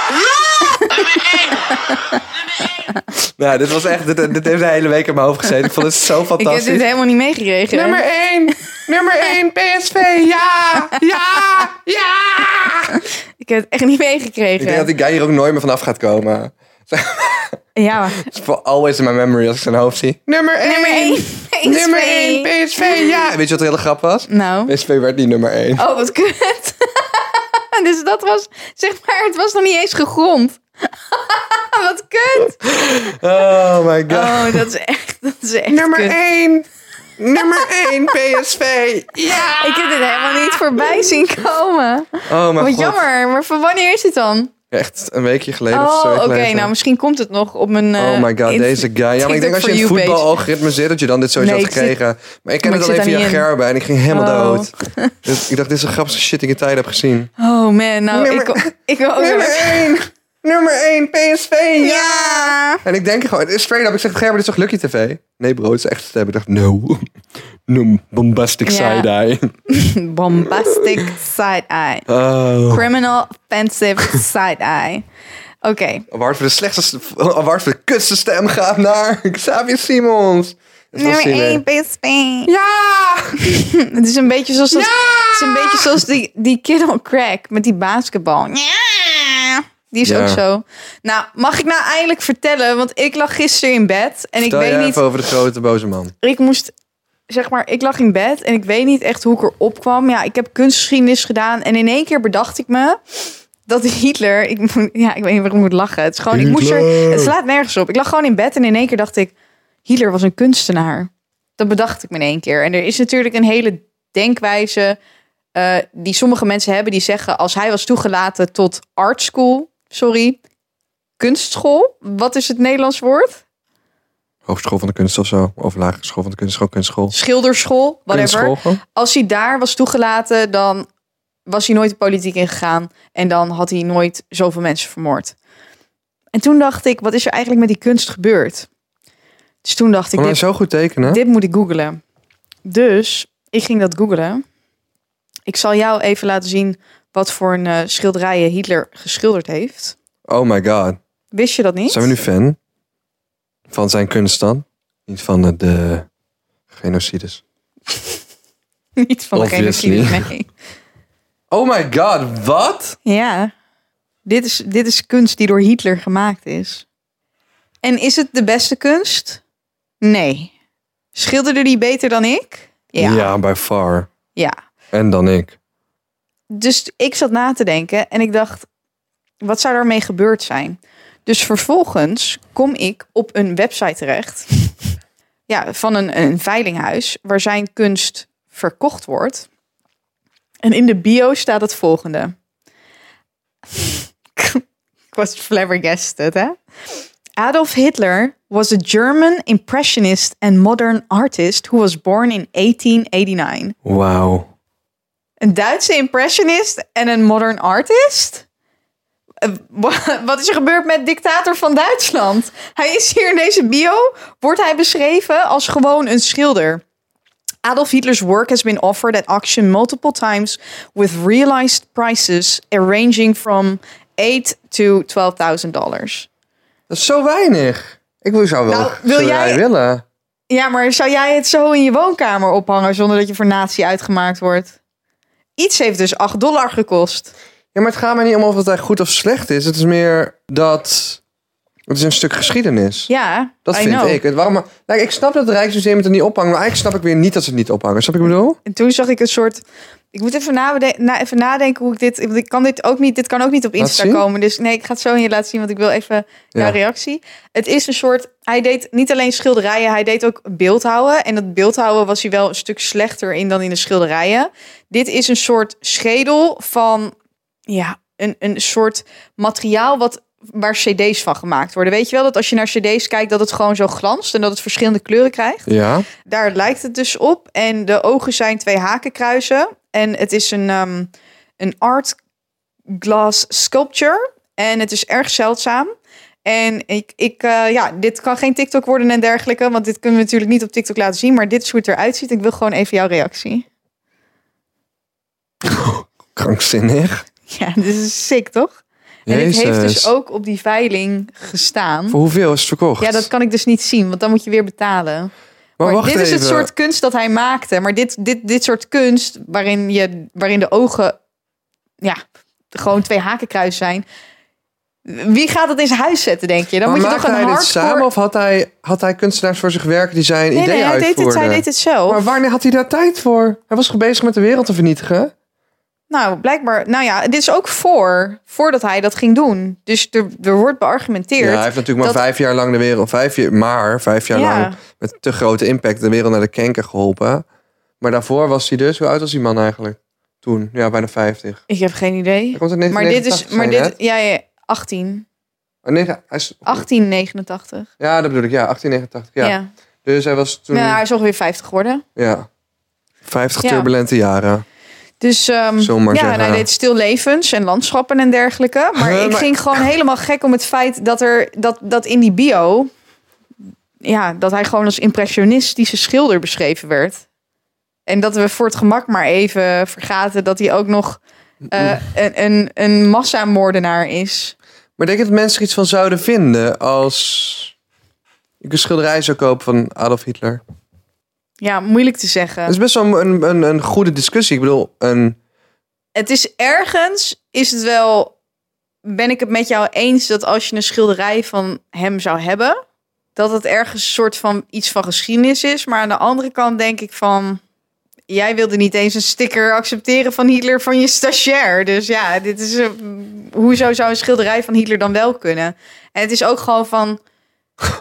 Speaker 5: Nummer 1. Nummer 1.
Speaker 4: Nou, dit was echt, dit, dit heeft de hele week in mijn hoofd gezeten. Ik vond het zo
Speaker 3: Ik heb
Speaker 4: fantastisch.
Speaker 3: dit helemaal niet meegekregen.
Speaker 4: Nummer 1, nummer 1, PSV, ja, ja, ja.
Speaker 3: Ik heb het echt niet
Speaker 4: Ik denk dat
Speaker 3: meegekregen.
Speaker 4: die guy hier ook nooit meer vanaf gaat komen.
Speaker 3: Ja,
Speaker 4: Het is for always in my memory als ik zijn hoofd zie. Nummer 1,
Speaker 3: nummer 1.
Speaker 4: nummer 1, PSV, ja. Weet je wat de hele grap was?
Speaker 3: Nou.
Speaker 4: PSV werd niet nummer 1.
Speaker 3: Oh, wat kut. dus dat was, zeg maar, het was nog niet eens gegrond. wat kut.
Speaker 4: Oh my god.
Speaker 3: Oh, dat is echt, dat is echt
Speaker 4: nummer
Speaker 3: kut.
Speaker 4: 1, nummer 1, PSV, ja.
Speaker 3: Ik heb dit helemaal niet voorbij zien komen.
Speaker 4: Oh mijn
Speaker 3: Wat
Speaker 4: god.
Speaker 3: jammer, maar van wanneer is dit dan?
Speaker 4: Echt een weekje geleden of
Speaker 3: oh,
Speaker 4: zo.
Speaker 3: oké, nou misschien komt het nog op mijn... eh,
Speaker 4: Oh my god,
Speaker 3: in-
Speaker 4: deze guy. Ja, maar ik denk
Speaker 3: TikTok
Speaker 4: als je
Speaker 3: for
Speaker 4: in het
Speaker 3: you page.
Speaker 4: voetbalalgoritme zit, dat je dan dit sowieso
Speaker 3: Nee,
Speaker 4: had
Speaker 3: ik zit-
Speaker 4: gekregen. Maar ik ken
Speaker 3: maar
Speaker 4: het
Speaker 3: ik
Speaker 4: alleen
Speaker 3: zit daar
Speaker 4: via
Speaker 3: niet in.
Speaker 4: Gerben en ik ging helemaal
Speaker 3: Oh.
Speaker 4: dood. Dus ik dacht, dit is de grappigste shit die ik in tijden heb gezien.
Speaker 3: Oh man, nou ik,
Speaker 4: Nummer-
Speaker 3: ik wil ook...
Speaker 4: Nummer 1! Nummer 1, PSV!
Speaker 3: Ja!
Speaker 4: En ik denk gewoon, straight up, ik zeg, Gerben, dit is toch Lucky TV? Nee bro, het is echt stem. Ik dacht, no. No, bombastic
Speaker 3: Ja.
Speaker 4: side-eye.
Speaker 3: Bombastic side-eye.
Speaker 4: Oh.
Speaker 3: Criminal offensive side-eye. Oké,
Speaker 4: Award voor de slechtste, award voor de kutste stem gaat naar Xavier Simons. Dat was
Speaker 3: nummer
Speaker 4: hij
Speaker 3: 1,
Speaker 4: weer.
Speaker 3: PSV.
Speaker 4: Ja!
Speaker 3: Het is een beetje zoals, dat, het is een beetje zoals die, die kid on crack met die basketbal. Ja. Die is
Speaker 4: Ja.
Speaker 3: ook zo. Nou, mag ik nou eigenlijk vertellen? Want ik lag gisteren in bed en ik
Speaker 4: Vertel
Speaker 3: weet
Speaker 4: jij
Speaker 3: niet...
Speaker 4: even over de grote boze man.
Speaker 3: ik moest, zeg maar, ik lag in bed en ik weet niet echt hoe ik erop kwam. Ja, ik heb kunstgeschiedenis gedaan en in één keer bedacht ik me dat Hitler, ik moet, ja, ik weet niet waarom ik moet lachen. Het is gewoon, ik moest er, het slaat nergens op. Ik lag gewoon in bed en in één keer dacht ik, Hitler was een kunstenaar. Dat bedacht ik me in één keer. En er is natuurlijk een hele denkwijze eh, die sommige mensen hebben die zeggen als hij was toegelaten tot art school, sorry, kunstschool. Wat is het Nederlands woord?
Speaker 4: Hogeschool van de kunst of zo. Of lagere school van de kunst. Gewoon kunstschool.
Speaker 3: Schilderschool, whatever.
Speaker 4: Kunstschool Oh, gewoon.
Speaker 3: als hij daar was toegelaten, dan was hij nooit de politiek ingegaan. En dan had hij nooit zoveel mensen vermoord. En toen dacht ik, wat is er eigenlijk met die kunst gebeurd? Dus toen dacht ik,
Speaker 4: Kon hij
Speaker 3: dit,
Speaker 4: zo goed tekenen?
Speaker 3: dit moet ik googlen. Dus ik ging dat googlen. Ik zal jou even laten zien wat voor een eh, schilderijen Hitler geschilderd heeft.
Speaker 4: Oh my god.
Speaker 3: Wist je dat niet?
Speaker 4: Zijn we nu fan? Van zijn kunst dan? Niet van de, de genocides.
Speaker 3: niet van degene die
Speaker 4: Obviously.
Speaker 3: mee.
Speaker 4: Oh my god, wat?
Speaker 3: Ja, dit is, dit is kunst die door Hitler gemaakt is. En is het de beste kunst? Nee. Schilderde die beter dan ik? Ja. ja.
Speaker 4: by far. En dan ik.
Speaker 3: Dus ik zat na te denken en ik dacht, wat zou daarmee gebeurd zijn? Dus vervolgens kom ik op een website terecht ja, van een, een veilinghuis waar zijn kunst verkocht wordt. En in de bio staat het volgende. Ik was flabbergasted, hè? Adolf Hitler was a German impressionist and modern artist who was born in 1889.
Speaker 4: Wauw.
Speaker 3: Een Duitse impressionist en een modern artist? Eh, wa- Wat is er gebeurd met dictator van Duitsland? Hij is hier in deze bio, wordt hij beschreven als gewoon een schilder. Adolf Hitler's work has been offered at auction multiple times with realized prices ranging from 8 to 12.000 dollars.
Speaker 4: Dat is zo weinig. Ik wil- zou wel
Speaker 3: Nou, wil
Speaker 4: zou
Speaker 3: jij-
Speaker 4: willen.
Speaker 3: Ja, maar zou jij het zo in je woonkamer ophangen zonder dat je voor nazi uitgemaakt wordt? Iets heeft dus 8 dollar gekost.
Speaker 4: Ja, maar het gaat mij niet om of het hij goed of slecht is. Het is meer dat... Het is een stuk geschiedenis.
Speaker 3: Ja,
Speaker 4: Dat
Speaker 3: I
Speaker 4: vind
Speaker 3: know.
Speaker 4: ik. En Waarom, nou, ik snap dat het Rijksmuseum het er niet ophangt, maar eigenlijk snap ik weer niet dat ze het niet ophangen. Snap ik wat ik bedoel?
Speaker 3: En toen zag ik een soort. Ik moet even, nade- na, even nadenken hoe ik dit. Want ik kan dit ook niet. Dit kan ook niet op Insta
Speaker 4: zien?
Speaker 3: komen. Dus nee, ik ga het zo in je laten zien. Want ik wil even jouw
Speaker 4: Ja.
Speaker 3: reactie. Het is een soort. Hij deed niet alleen schilderijen. Hij deed ook beeldhouden. En dat beeldhouden was hij wel een stuk slechter in dan in de schilderijen. Dit is een soort schedel van. Ja, een, een soort materiaal wat. Waar CD's van gemaakt worden. Weet je wel dat als je naar CD's kijkt, dat het gewoon zo glanst en dat het verschillende kleuren krijgt?
Speaker 4: Ja.
Speaker 3: Daar lijkt het dus op. En de ogen zijn twee hakenkruizen. En het is een, ehm, een art glass sculpture. En het is erg zeldzaam. En ik, ik eh, ja, dit kan geen TikTok worden en dergelijke, want dit kunnen we natuurlijk niet op TikTok laten zien. Maar dit is hoe het eruit ziet. Ik wil gewoon even jouw reactie.
Speaker 4: Krankzinnig.
Speaker 3: Ja, dit is sick, toch? En dit heeft dus ook op die veiling gestaan.
Speaker 4: Voor hoeveel is het verkocht?
Speaker 3: Ja, dat kan ik dus niet zien, want dan moet je weer betalen. Maar
Speaker 4: wacht
Speaker 3: dit is het
Speaker 4: even.
Speaker 3: soort kunst dat hij maakte. Maar dit, dit, dit soort kunst, waarin, je, waarin de ogen ja, gewoon twee hakenkruis zijn. Wie gaat dat in zijn huis zetten, denk je? Dan
Speaker 4: maar
Speaker 3: moet je
Speaker 4: maakte
Speaker 3: toch een
Speaker 4: hij
Speaker 3: hardcore...
Speaker 4: dit samen of had hij, had hij kunstenaars voor zich werken die zijn
Speaker 3: nee,
Speaker 4: idee
Speaker 3: nee, hij deed,
Speaker 4: uitvoerden?
Speaker 3: het, hij deed het zelf.
Speaker 4: Maar wanneer had hij daar tijd voor? Hij was gewoon bezig met de wereld te vernietigen.
Speaker 3: Nou, blijkbaar... Nou ja, dit is ook voor, voordat hij dat ging doen. Dus er, er wordt beargumenteerd.
Speaker 4: Ja, hij heeft natuurlijk maar
Speaker 3: dat-
Speaker 4: vijf jaar lang de wereld, vijf jaar, maar vijf jaar
Speaker 3: Ja.
Speaker 4: lang met te grote impact de wereld naar de kanker geholpen. Maar daarvoor was hij dus, hoe oud was die man eigenlijk? Toen, ja, bijna 50.
Speaker 3: Ik heb geen idee.
Speaker 4: Hij komt uit
Speaker 3: Maar dit is...
Speaker 4: 1989,
Speaker 3: Maar
Speaker 4: zei je
Speaker 3: dit, ja, ja, 18.
Speaker 4: net? Oh, nee, hij is,
Speaker 3: 1889.
Speaker 4: ja, dat bedoel ik, ja, 1889. Ja.
Speaker 3: Ja. ja.
Speaker 4: Dus hij was toen, ja,
Speaker 3: hij is ongeveer 50 geworden.
Speaker 4: 50
Speaker 3: Ja.
Speaker 4: turbulente jaren.
Speaker 3: Dus ehm,
Speaker 4: Zomaar
Speaker 3: ja,
Speaker 4: zeggen,
Speaker 3: en hij
Speaker 4: ja.
Speaker 3: deed stillevens en landschappen en dergelijke. Maar
Speaker 4: Huh,
Speaker 3: ik
Speaker 4: maar-
Speaker 3: ging gewoon helemaal gek om het feit dat er dat, dat in die bio. Ja, dat hij gewoon als impressionistische schilder beschreven werd. En dat we voor het gemak maar even vergaten dat hij ook nog eh,
Speaker 4: Mm.
Speaker 3: een, een, een massamoordenaar is.
Speaker 4: Maar denk je dat mensen er iets van zouden vinden als ik een schilderij zou kopen van Adolf Hitler?
Speaker 3: Ja, moeilijk te zeggen.
Speaker 4: Dat is best wel een, een, een goede discussie. Ik bedoel, een,
Speaker 3: het is ergens, is het wel, ben ik het met jou eens dat als je een schilderij van hem zou hebben, dat het ergens een soort van iets van geschiedenis is. Maar aan de andere kant denk ik van, jij wilde niet eens een sticker accepteren van Hitler van je stagiair. Dus ja, dit is, eh, hoezo zou een schilderij van Hitler dan wel kunnen? En het is ook gewoon van,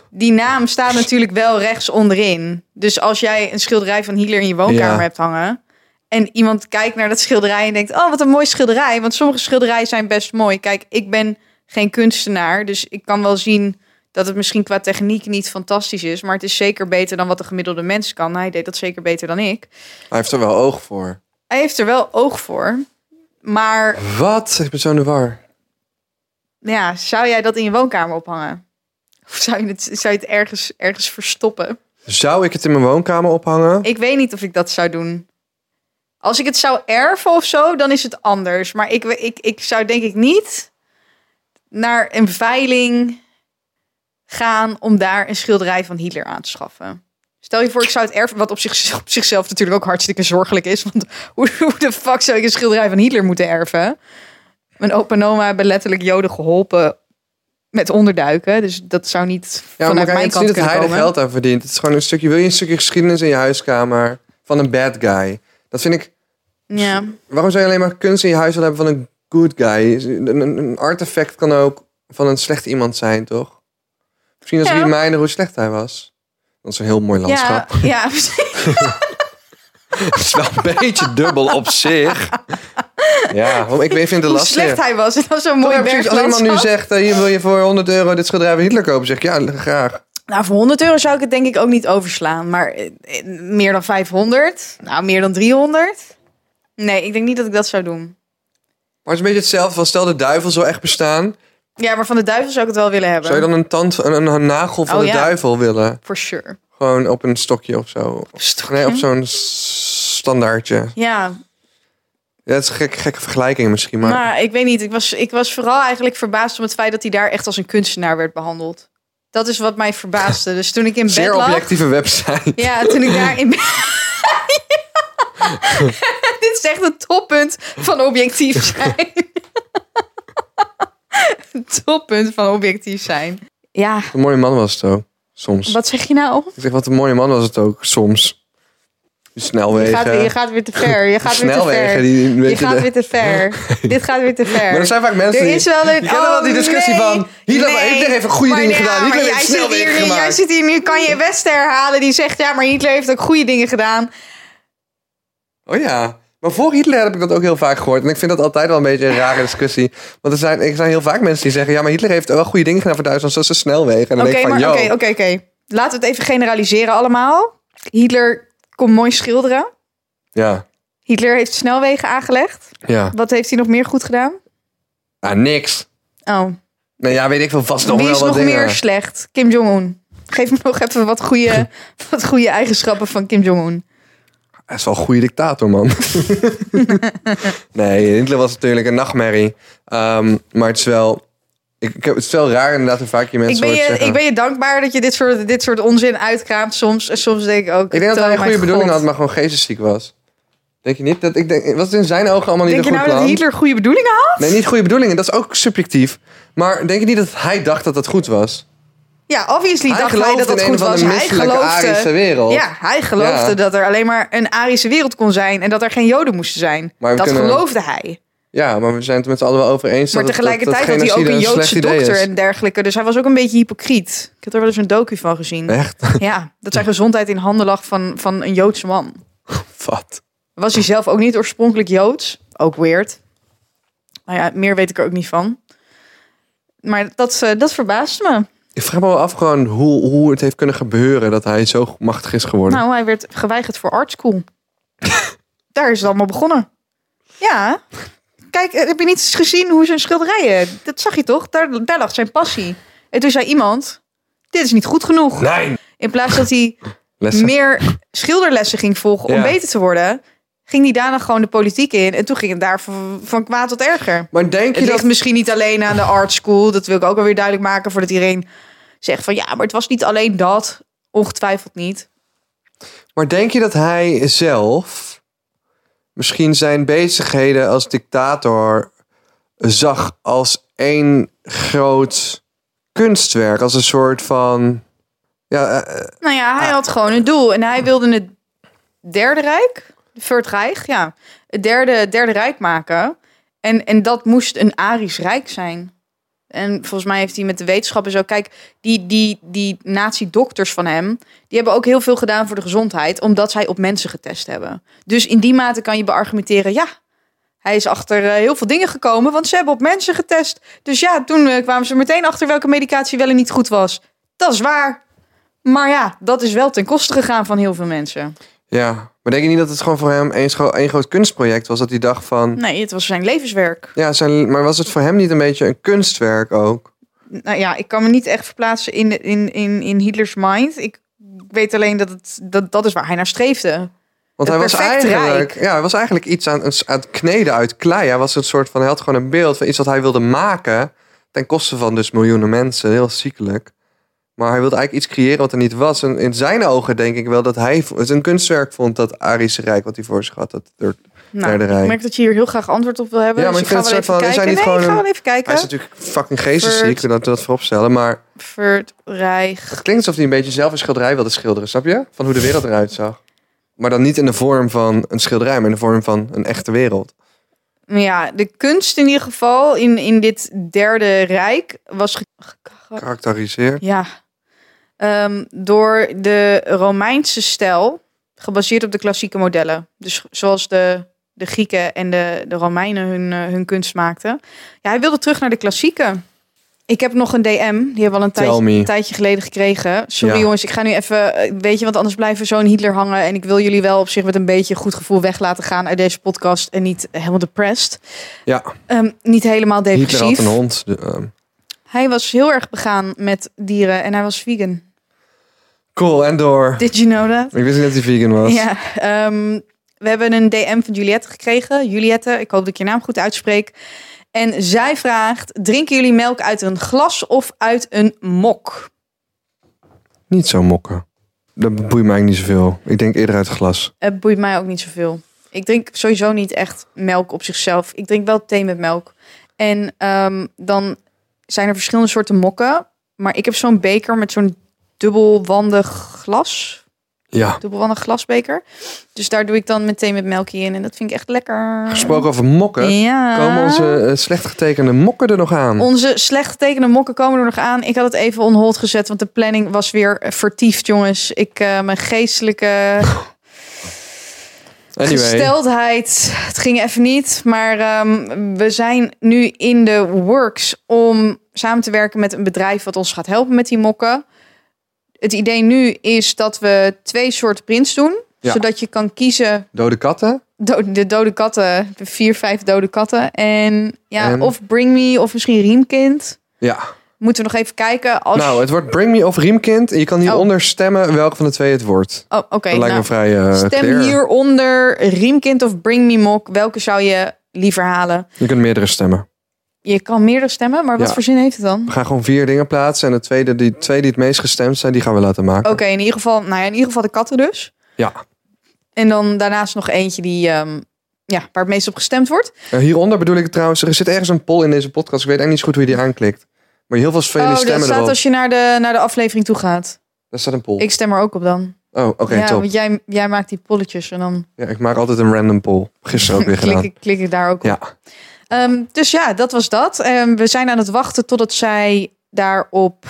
Speaker 3: die naam staat natuurlijk wel rechts onderin. Dus als jij een schilderij van Hitler in je woonkamer
Speaker 4: Ja.
Speaker 3: hebt hangen. En iemand kijkt naar dat schilderij en denkt: Oh, wat een mooi schilderij. Want sommige schilderijen zijn best mooi. Kijk, ik ben geen kunstenaar. Dus ik kan wel zien dat het misschien qua techniek niet fantastisch is. Maar het is zeker beter dan wat de gemiddelde mens kan. Hij deed dat zeker beter dan ik.
Speaker 4: hij heeft er wel oog voor.
Speaker 3: Hij heeft er wel oog voor. Maar
Speaker 4: Wat? Ik ben zo in de war.
Speaker 3: ja, zou jij dat in je woonkamer ophangen? Of zou je het, zou je het ergens, ergens verstoppen?
Speaker 4: Zou ik het in mijn woonkamer ophangen?
Speaker 3: Ik weet niet of ik dat zou doen. Als ik het zou erven of zo, dan is het anders. Maar ik, we- ik, ik zou denk ik niet naar een veiling gaan om daar een schilderij van Hitler aan te schaffen. Stel je voor, ik zou het erven, wat op, zich, op zichzelf natuurlijk ook hartstikke zorgelijk is. Want hoe, hoe de fuck zou ik een schilderij van Hitler moeten erven? Mijn opa en oma hebben letterlijk Joden geholpen met onderduiken. Dus dat zou niet
Speaker 4: Ja, maar
Speaker 3: vanuit
Speaker 4: kijk,
Speaker 3: mijn
Speaker 4: het is
Speaker 3: kant
Speaker 4: niet dat
Speaker 3: kunnen
Speaker 4: hij er
Speaker 3: komen.
Speaker 4: geld aan verdient. Het is gewoon een stukje, wil je een stukje geschiedenis in je huiskamer van een bad guy? Dat vind ik,
Speaker 3: Ja.
Speaker 4: waarom zou je alleen maar kunst in je huis willen hebben van een good guy? Een, een, een artefact kan ook van een slecht iemand zijn, toch? Misschien als
Speaker 3: Ja.
Speaker 4: reminder hoe slecht hij was. Dat is een heel mooi landschap.
Speaker 3: Ja, ja, precies.
Speaker 4: Dat is wel een beetje dubbel op zich. Ja, want ik vind het
Speaker 3: hoe
Speaker 4: lastig.
Speaker 3: slecht hij was. Het was zo'n
Speaker 4: Toch,
Speaker 3: mooi
Speaker 4: ja, precies. als iemand
Speaker 3: berglandschap.
Speaker 4: nu zegt, eh, hier wil je voor 100 euro dit schilderij van Hitler kopen, zeg ik, ja, graag.
Speaker 3: Nou, voor 100 euro zou ik het denk ik ook niet overslaan. Maar eh, eh, meer dan 500? Nou, meer dan 300? Nee, ik denk niet dat ik dat zou doen.
Speaker 4: Maar het is een beetje hetzelfde van, stel de duivel zou echt bestaan,
Speaker 3: Ja, maar van de duivel zou ik het wel willen hebben.
Speaker 4: zou je dan een, tand, een, een nagel van
Speaker 3: Oh,
Speaker 4: de
Speaker 3: ja.
Speaker 4: duivel willen?
Speaker 3: For sure.
Speaker 4: Gewoon op een stokje of zo. Nee,
Speaker 3: Hm?
Speaker 4: op zo'n s- standaardje.
Speaker 3: Ja,
Speaker 4: Ja, dat is een gek, gekke vergelijking misschien, maar...
Speaker 3: maar ik weet niet. Ik was, ik was vooral eigenlijk verbaasd om het feit dat hij daar echt als een kunstenaar werd behandeld. Dat is wat mij verbaasde. Dus toen ik in bed
Speaker 4: Zeer
Speaker 3: lag...
Speaker 4: objectieve website.
Speaker 3: Ja, toen ik daar in. Dit is echt het toppunt van objectief zijn. Het toppunt van objectief zijn. Ja,
Speaker 4: Wat een mooie man was het ook, soms.
Speaker 3: wat zeg je nou?
Speaker 4: Ik zeg, wat een mooie man was het ook, soms. Die
Speaker 3: Je
Speaker 4: snelwegen.
Speaker 3: gaat, je gaat weer te ver. Je gaat weer te
Speaker 4: snelwegen,
Speaker 3: ver.
Speaker 4: die, een
Speaker 3: Je
Speaker 4: beetje
Speaker 3: gaat
Speaker 4: de-
Speaker 3: weer te ver. Dit gaat weer te ver.
Speaker 4: Maar er zijn vaak mensen
Speaker 3: Er
Speaker 4: die...
Speaker 3: is wel een. Oh,
Speaker 4: Je kent wel die discussie van, Hitler- Hitler heeft een goede
Speaker 3: ding
Speaker 4: dingen gedaan, Hitler heeft snelwegen gemaakt.
Speaker 3: Jij zit hier nu, kan je Wester herhalen die zegt ja, maar Hitler heeft ook goede dingen gedaan.
Speaker 4: Oh ja. Maar voor Hitler heb ik dat ook heel vaak gehoord. En ik vind dat altijd wel een beetje een rare discussie. Want er zijn, er zijn heel vaak mensen die zeggen... ja, maar Hitler heeft wel goede dingen gedaan voor Duitsland... zoals de snelwegen. En dan
Speaker 3: Oké,
Speaker 4: denk ik van,
Speaker 3: maar
Speaker 4: yo.
Speaker 3: oké, oké, oké. Laten we het even generaliseren allemaal. Hitler kon mooi schilderen.
Speaker 4: Ja.
Speaker 3: Hitler heeft snelwegen aangelegd.
Speaker 4: Ja.
Speaker 3: Wat heeft hij nog meer goed gedaan?
Speaker 4: Ah, niks.
Speaker 3: Oh,
Speaker 4: Nou ja, weet ik veel. Vast nog
Speaker 3: wie
Speaker 4: wel
Speaker 3: is
Speaker 4: wat
Speaker 3: nog
Speaker 4: dingen.
Speaker 3: meer slecht? Kim Jong-un. Geef me nog even wat goede, wat goede eigenschappen van Kim Jong-un.
Speaker 4: Hij is wel een goede dictator, man. nee, Hitler was natuurlijk een nachtmerrie. Ehm, maar het is wel... Ik, ik heb, het is wel raar inderdaad hoe vaak je mensen
Speaker 3: Ik ben,
Speaker 4: hoort
Speaker 3: je,
Speaker 4: zeggen.
Speaker 3: ik ben je dankbaar dat je dit soort, dit soort onzin uitkraamt soms. En soms denk ik ook...
Speaker 4: Ik denk dat hij
Speaker 3: oh
Speaker 4: een
Speaker 3: mijn
Speaker 4: goede bedoeling
Speaker 3: God.
Speaker 4: had, maar gewoon geestesziek was. Denk je niet? Dat, ik denk, was het in zijn ogen allemaal niet
Speaker 3: Denk je
Speaker 4: een goed
Speaker 3: nou dat
Speaker 4: plan?
Speaker 3: Hitler goede bedoelingen had?
Speaker 4: Nee, niet goede bedoelingen. Dat is ook subjectief. Maar denk je niet dat hij dacht dat dat goed was?
Speaker 3: Ja, obviously
Speaker 4: hij
Speaker 3: dacht hij dat het
Speaker 4: in een
Speaker 3: goed
Speaker 4: van
Speaker 3: was.
Speaker 4: de
Speaker 3: Hij
Speaker 4: misselijke Arische
Speaker 3: geloofde...
Speaker 4: wereld.
Speaker 3: Ja, hij geloofde
Speaker 4: Ja.
Speaker 3: dat er alleen maar een Arische wereld kon zijn en dat er geen Joden moesten zijn.
Speaker 4: Maar we
Speaker 3: dat
Speaker 4: kunnen-
Speaker 3: geloofde hij.
Speaker 4: Ja, maar we zijn het er met z'n allen wel over eens.
Speaker 3: Maar
Speaker 4: dat,
Speaker 3: tegelijkertijd
Speaker 4: dat,
Speaker 3: had
Speaker 4: dat
Speaker 3: hij ook
Speaker 4: genocide
Speaker 3: een Joodse
Speaker 4: slecht idee
Speaker 3: dokter
Speaker 4: is.
Speaker 3: en dergelijke. Dus hij was ook een beetje hypocriet. Ik heb er wel eens een docu van gezien.
Speaker 4: Echt?
Speaker 3: Ja, dat zijn gezondheid in handen lag van, van een Joodse man.
Speaker 4: Wat?
Speaker 3: Was hij zelf ook niet oorspronkelijk Joods? Ook weird. Nou ja, meer weet ik er ook niet van. Maar dat, eh, dat verbaast me.
Speaker 4: Ik vraag me wel af gewoon hoe, hoe het heeft kunnen gebeuren dat hij zo machtig is geworden.
Speaker 3: Nou, hij werd geweigerd voor art school. Daar is het allemaal begonnen. Ja. Kijk, eh, heb je niet eens gezien hoe zijn schilderijen... Dat zag je toch? Daar, daar lag zijn passie. En toen zei iemand... Dit is niet goed genoeg.
Speaker 4: nee!
Speaker 3: In plaats dat hij
Speaker 4: Lessen.
Speaker 3: meer schilderlessen ging volgen om
Speaker 4: Ja.
Speaker 3: beter te worden... ging hij daarna gewoon de politiek in. En toen ging het daar van, van kwaad tot erger.
Speaker 4: Maar denk je
Speaker 3: Het ligt
Speaker 4: dat...
Speaker 3: misschien niet alleen aan de art school. Dat wil ik ook alweer duidelijk maken voordat iedereen zegt van... Ja, maar het was niet alleen dat. Ongetwijfeld niet.
Speaker 4: Maar denk je dat hij zelf misschien zijn bezigheden als dictator zag als één groot kunstwerk? Als een soort van... Ja, eh,
Speaker 3: Nou ja, hij had gewoon een doel. En hij wilde het Derde Rijk, Viert Rijk, ja, het derde, derde Rijk maken. En, en dat moest een Arisch Rijk zijn. En volgens mij heeft hij met de wetenschappen zo... Kijk, die, die, die nazi-dokters van hem... die hebben ook heel veel gedaan voor de gezondheid... omdat zij op mensen getest hebben. Dus in die mate kan je beargumenteren... ja, hij is achter eh, heel veel dingen gekomen... want ze hebben op mensen getest. Dus ja, toen eh, kwamen ze meteen achter... welke medicatie wel en niet goed was. Dat is waar. Maar ja, dat is wel ten koste gegaan van heel veel mensen.
Speaker 4: ja, maar denk je niet dat het gewoon voor hem één scho- één groot kunstproject was? Dat hij dacht van...
Speaker 3: Nee, het was zijn levenswerk.
Speaker 4: Ja, zijn, maar was het voor hem niet een beetje een kunstwerk ook?
Speaker 3: Nou ja, ik kan me niet echt verplaatsen in, in, in, in Hitler's mind. Ik weet alleen dat, het, dat dat is waar hij naar streefde. Het
Speaker 4: Want hij was,
Speaker 3: perfect
Speaker 4: eigenlijk,
Speaker 3: rijk.
Speaker 4: ja, hij was eigenlijk iets aan, aan het kneden uit klei. Hij was een soort van, hij had gewoon een beeld van iets wat hij wilde maken. Ten koste van dus miljoenen mensen, heel ziekelijk. Maar hij wilde eigenlijk iets creëren wat er niet was. En in zijn ogen denk ik wel dat hij v- het een kunstwerk vond, dat Arische Rijk wat hij voor zich had. Dat, er-
Speaker 3: Nou,
Speaker 4: Derde Rijk.
Speaker 3: ik merk dat je hier heel graag antwoord op wil hebben.
Speaker 4: Ja,
Speaker 3: dus
Speaker 4: maar
Speaker 3: ik
Speaker 4: ik
Speaker 3: ga
Speaker 4: vind
Speaker 3: wel
Speaker 4: het
Speaker 3: even
Speaker 4: soort van-
Speaker 3: kijken.
Speaker 4: is
Speaker 3: Nee,
Speaker 4: hij niet
Speaker 3: ik
Speaker 4: gewoon
Speaker 3: ga wel
Speaker 4: een-
Speaker 3: even
Speaker 4: hij is
Speaker 3: kijken.
Speaker 4: natuurlijk fucking geestesziek, dat dat vooropstellen. Maar
Speaker 3: Vert, Rijk.
Speaker 4: het klinkt alsof hij een beetje zelf een schilderij wilde schilderen, snap je? Van hoe de wereld eruit zag. Maar dan niet in de vorm van een schilderij, maar in de vorm van een echte wereld.
Speaker 3: Maar ja, de kunst in ieder geval in, in dit derde Rijk was ge- ge-
Speaker 4: Karakteriseerd.
Speaker 3: Ja. Ehm, door de Romeinse stijl, gebaseerd op de klassieke modellen. Dus zoals de, de Grieken en de, de Romeinen hun, eh, hun kunst maakten. Ja, hij wilde terug naar de klassieke. Ik heb nog een DM, die hebben we al een
Speaker 4: Tell
Speaker 3: tijdje,
Speaker 4: me.
Speaker 3: een tijdje geleden gekregen. Sorry
Speaker 4: Ja.
Speaker 3: jongens, ik ga nu even, eh, weet je, want anders blijven we zo in Hitler hangen. En ik wil jullie wel op zich met een beetje goed gevoel weg laten gaan uit deze podcast. En niet helemaal depressed.
Speaker 4: Ja.
Speaker 3: Ehm, niet helemaal depressief.
Speaker 4: Hitler had een hond. de, ehm.
Speaker 3: Hij was heel erg begaan met dieren en hij was vegan.
Speaker 4: Cool, en door.
Speaker 3: Did you know that?
Speaker 4: Ik wist niet dat hij vegan was.
Speaker 3: Ja, ehm, we hebben een DM van Juliette gekregen. Juliette, ik hoop dat ik je naam goed uitspreek. En zij vraagt: drinken jullie melk uit een glas of uit een mok?
Speaker 4: Niet zo mokken. Dat boeit mij eigenlijk niet zoveel. Ik denk eerder uit het glas.
Speaker 3: Het boeit mij ook niet zoveel. Ik drink sowieso niet echt melk op zichzelf. Ik drink wel thee met melk. En ehm, dan zijn er verschillende soorten mokken. Maar ik heb zo'n beker met zo'n dubbelwandig glas.
Speaker 4: Ja.
Speaker 3: Dubbelwandig glasbeker. Dus daar doe ik dan meteen met melk in. En dat vind ik echt lekker.
Speaker 4: Gesproken over mokken.
Speaker 3: Ja.
Speaker 4: Komen onze eh, slecht getekende mokken er nog aan?
Speaker 3: Onze slecht getekende mokken komen er nog aan. Ik had het even on hold gezet, want de planning was weer eh, vertiefd, jongens. Ik, eh, mijn geestelijke
Speaker 4: Anyway.
Speaker 3: gesteldheid, het ging even niet. Maar ehm, we zijn nu in de works om samen te werken met een bedrijf wat ons gaat helpen met die mokken. Het idee nu is dat we twee soorten prints doen,
Speaker 4: Ja.
Speaker 3: zodat je kan kiezen
Speaker 4: Dode katten?
Speaker 3: do- de dode katten. De vier, vijf dode katten. En ja,
Speaker 4: En?
Speaker 3: of Bring Me of misschien Riemkind.
Speaker 4: Ja.
Speaker 3: Moeten we nog even kijken. Als...
Speaker 4: Nou, het wordt Bring Me of Riemkind. En je kan hieronder stemmen welke van de twee het wordt.
Speaker 3: oh, oké.
Speaker 4: Dat lijkt
Speaker 3: nou,
Speaker 4: me vrij eh,
Speaker 3: stem
Speaker 4: fair.
Speaker 3: hieronder Riemkind of Bring Me Mok. Welke zou je liever halen?
Speaker 4: Je kunt meerdere stemmen.
Speaker 3: Je kan meerdere stemmen, maar wat
Speaker 4: Ja.
Speaker 3: voor zin heeft het dan?
Speaker 4: We gaan gewoon vier dingen plaatsen. En de tweede, die twee die het meest gestemd zijn, die gaan we laten maken.
Speaker 3: Oké, in ieder geval, nou ja, in ieder geval de katten dus.
Speaker 4: Ja.
Speaker 3: En dan daarnaast nog eentje die, ehm, ja, waar het meest op gestemd wordt.
Speaker 4: Eh, hieronder bedoel ik trouwens, er zit ergens een poll in deze podcast. Ik weet eigenlijk niet zo goed hoe je die aanklikt. Maar heel veel vele
Speaker 3: oh, dat
Speaker 4: stemmen
Speaker 3: staat
Speaker 4: erop.
Speaker 3: als je naar de, naar de aflevering toe gaat.
Speaker 4: Daar staat een poll.
Speaker 3: Ik stem er ook op dan.
Speaker 4: Oh, oké,
Speaker 3: ja,
Speaker 4: top.
Speaker 3: want jij, jij maakt die polletjes en dan
Speaker 4: Ja, ik maak altijd een random poll. Gisteren ook weer
Speaker 3: klik
Speaker 4: gedaan.
Speaker 3: ik, klik ik daar ook op.
Speaker 4: Ja,
Speaker 3: Ehm, dus ja, dat was dat. Ehm, we zijn aan het wachten totdat zij daarop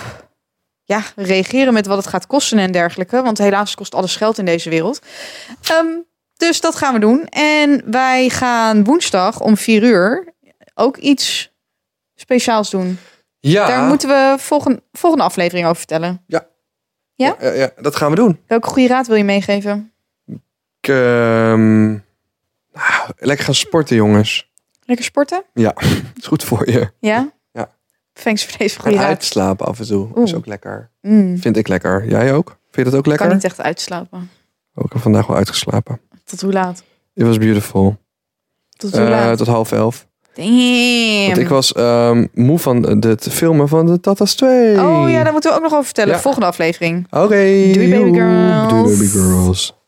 Speaker 3: ja, reageren met wat het gaat kosten en dergelijke. Want helaas kost alles geld in deze wereld. Ehm, dus dat gaan we doen. En wij gaan woensdag om vier uur ook iets speciaals doen.
Speaker 4: ja,
Speaker 3: Daar moeten we volgende, volgende aflevering over vertellen.
Speaker 4: ja? ja, ja, dat gaan we doen.
Speaker 3: Welke goede raad wil je meegeven?
Speaker 4: Ik, ehm, nou, lekker gaan sporten, jongens.
Speaker 3: Lekker sporten?
Speaker 4: Ja, is goed voor je.
Speaker 3: Ja?
Speaker 4: Ja.
Speaker 3: Thanks voor deze
Speaker 4: En
Speaker 3: goede raad.
Speaker 4: uitslapen af en toe is
Speaker 3: Oeh.
Speaker 4: ook lekker.
Speaker 3: Mm,
Speaker 4: Vind ik lekker. Jij ook? Vind je dat ook lekker?
Speaker 3: kan niet echt uitslapen.
Speaker 4: Ook ik heb vandaag wel uitgeslapen.
Speaker 3: Tot hoe laat?
Speaker 4: It was beautiful.
Speaker 3: Tot hoe
Speaker 4: Eh
Speaker 3: laat?
Speaker 4: tot half elf.
Speaker 3: Damn.
Speaker 4: Want ik was ehm, moe van het filmen van de Tatas 2.
Speaker 3: Oh ja, daar moeten we ook nog over vertellen.
Speaker 4: Ja.
Speaker 3: Volgende aflevering.
Speaker 4: Oké.
Speaker 3: Doei, baby
Speaker 4: joe.
Speaker 3: girls.
Speaker 4: Doei baby girls.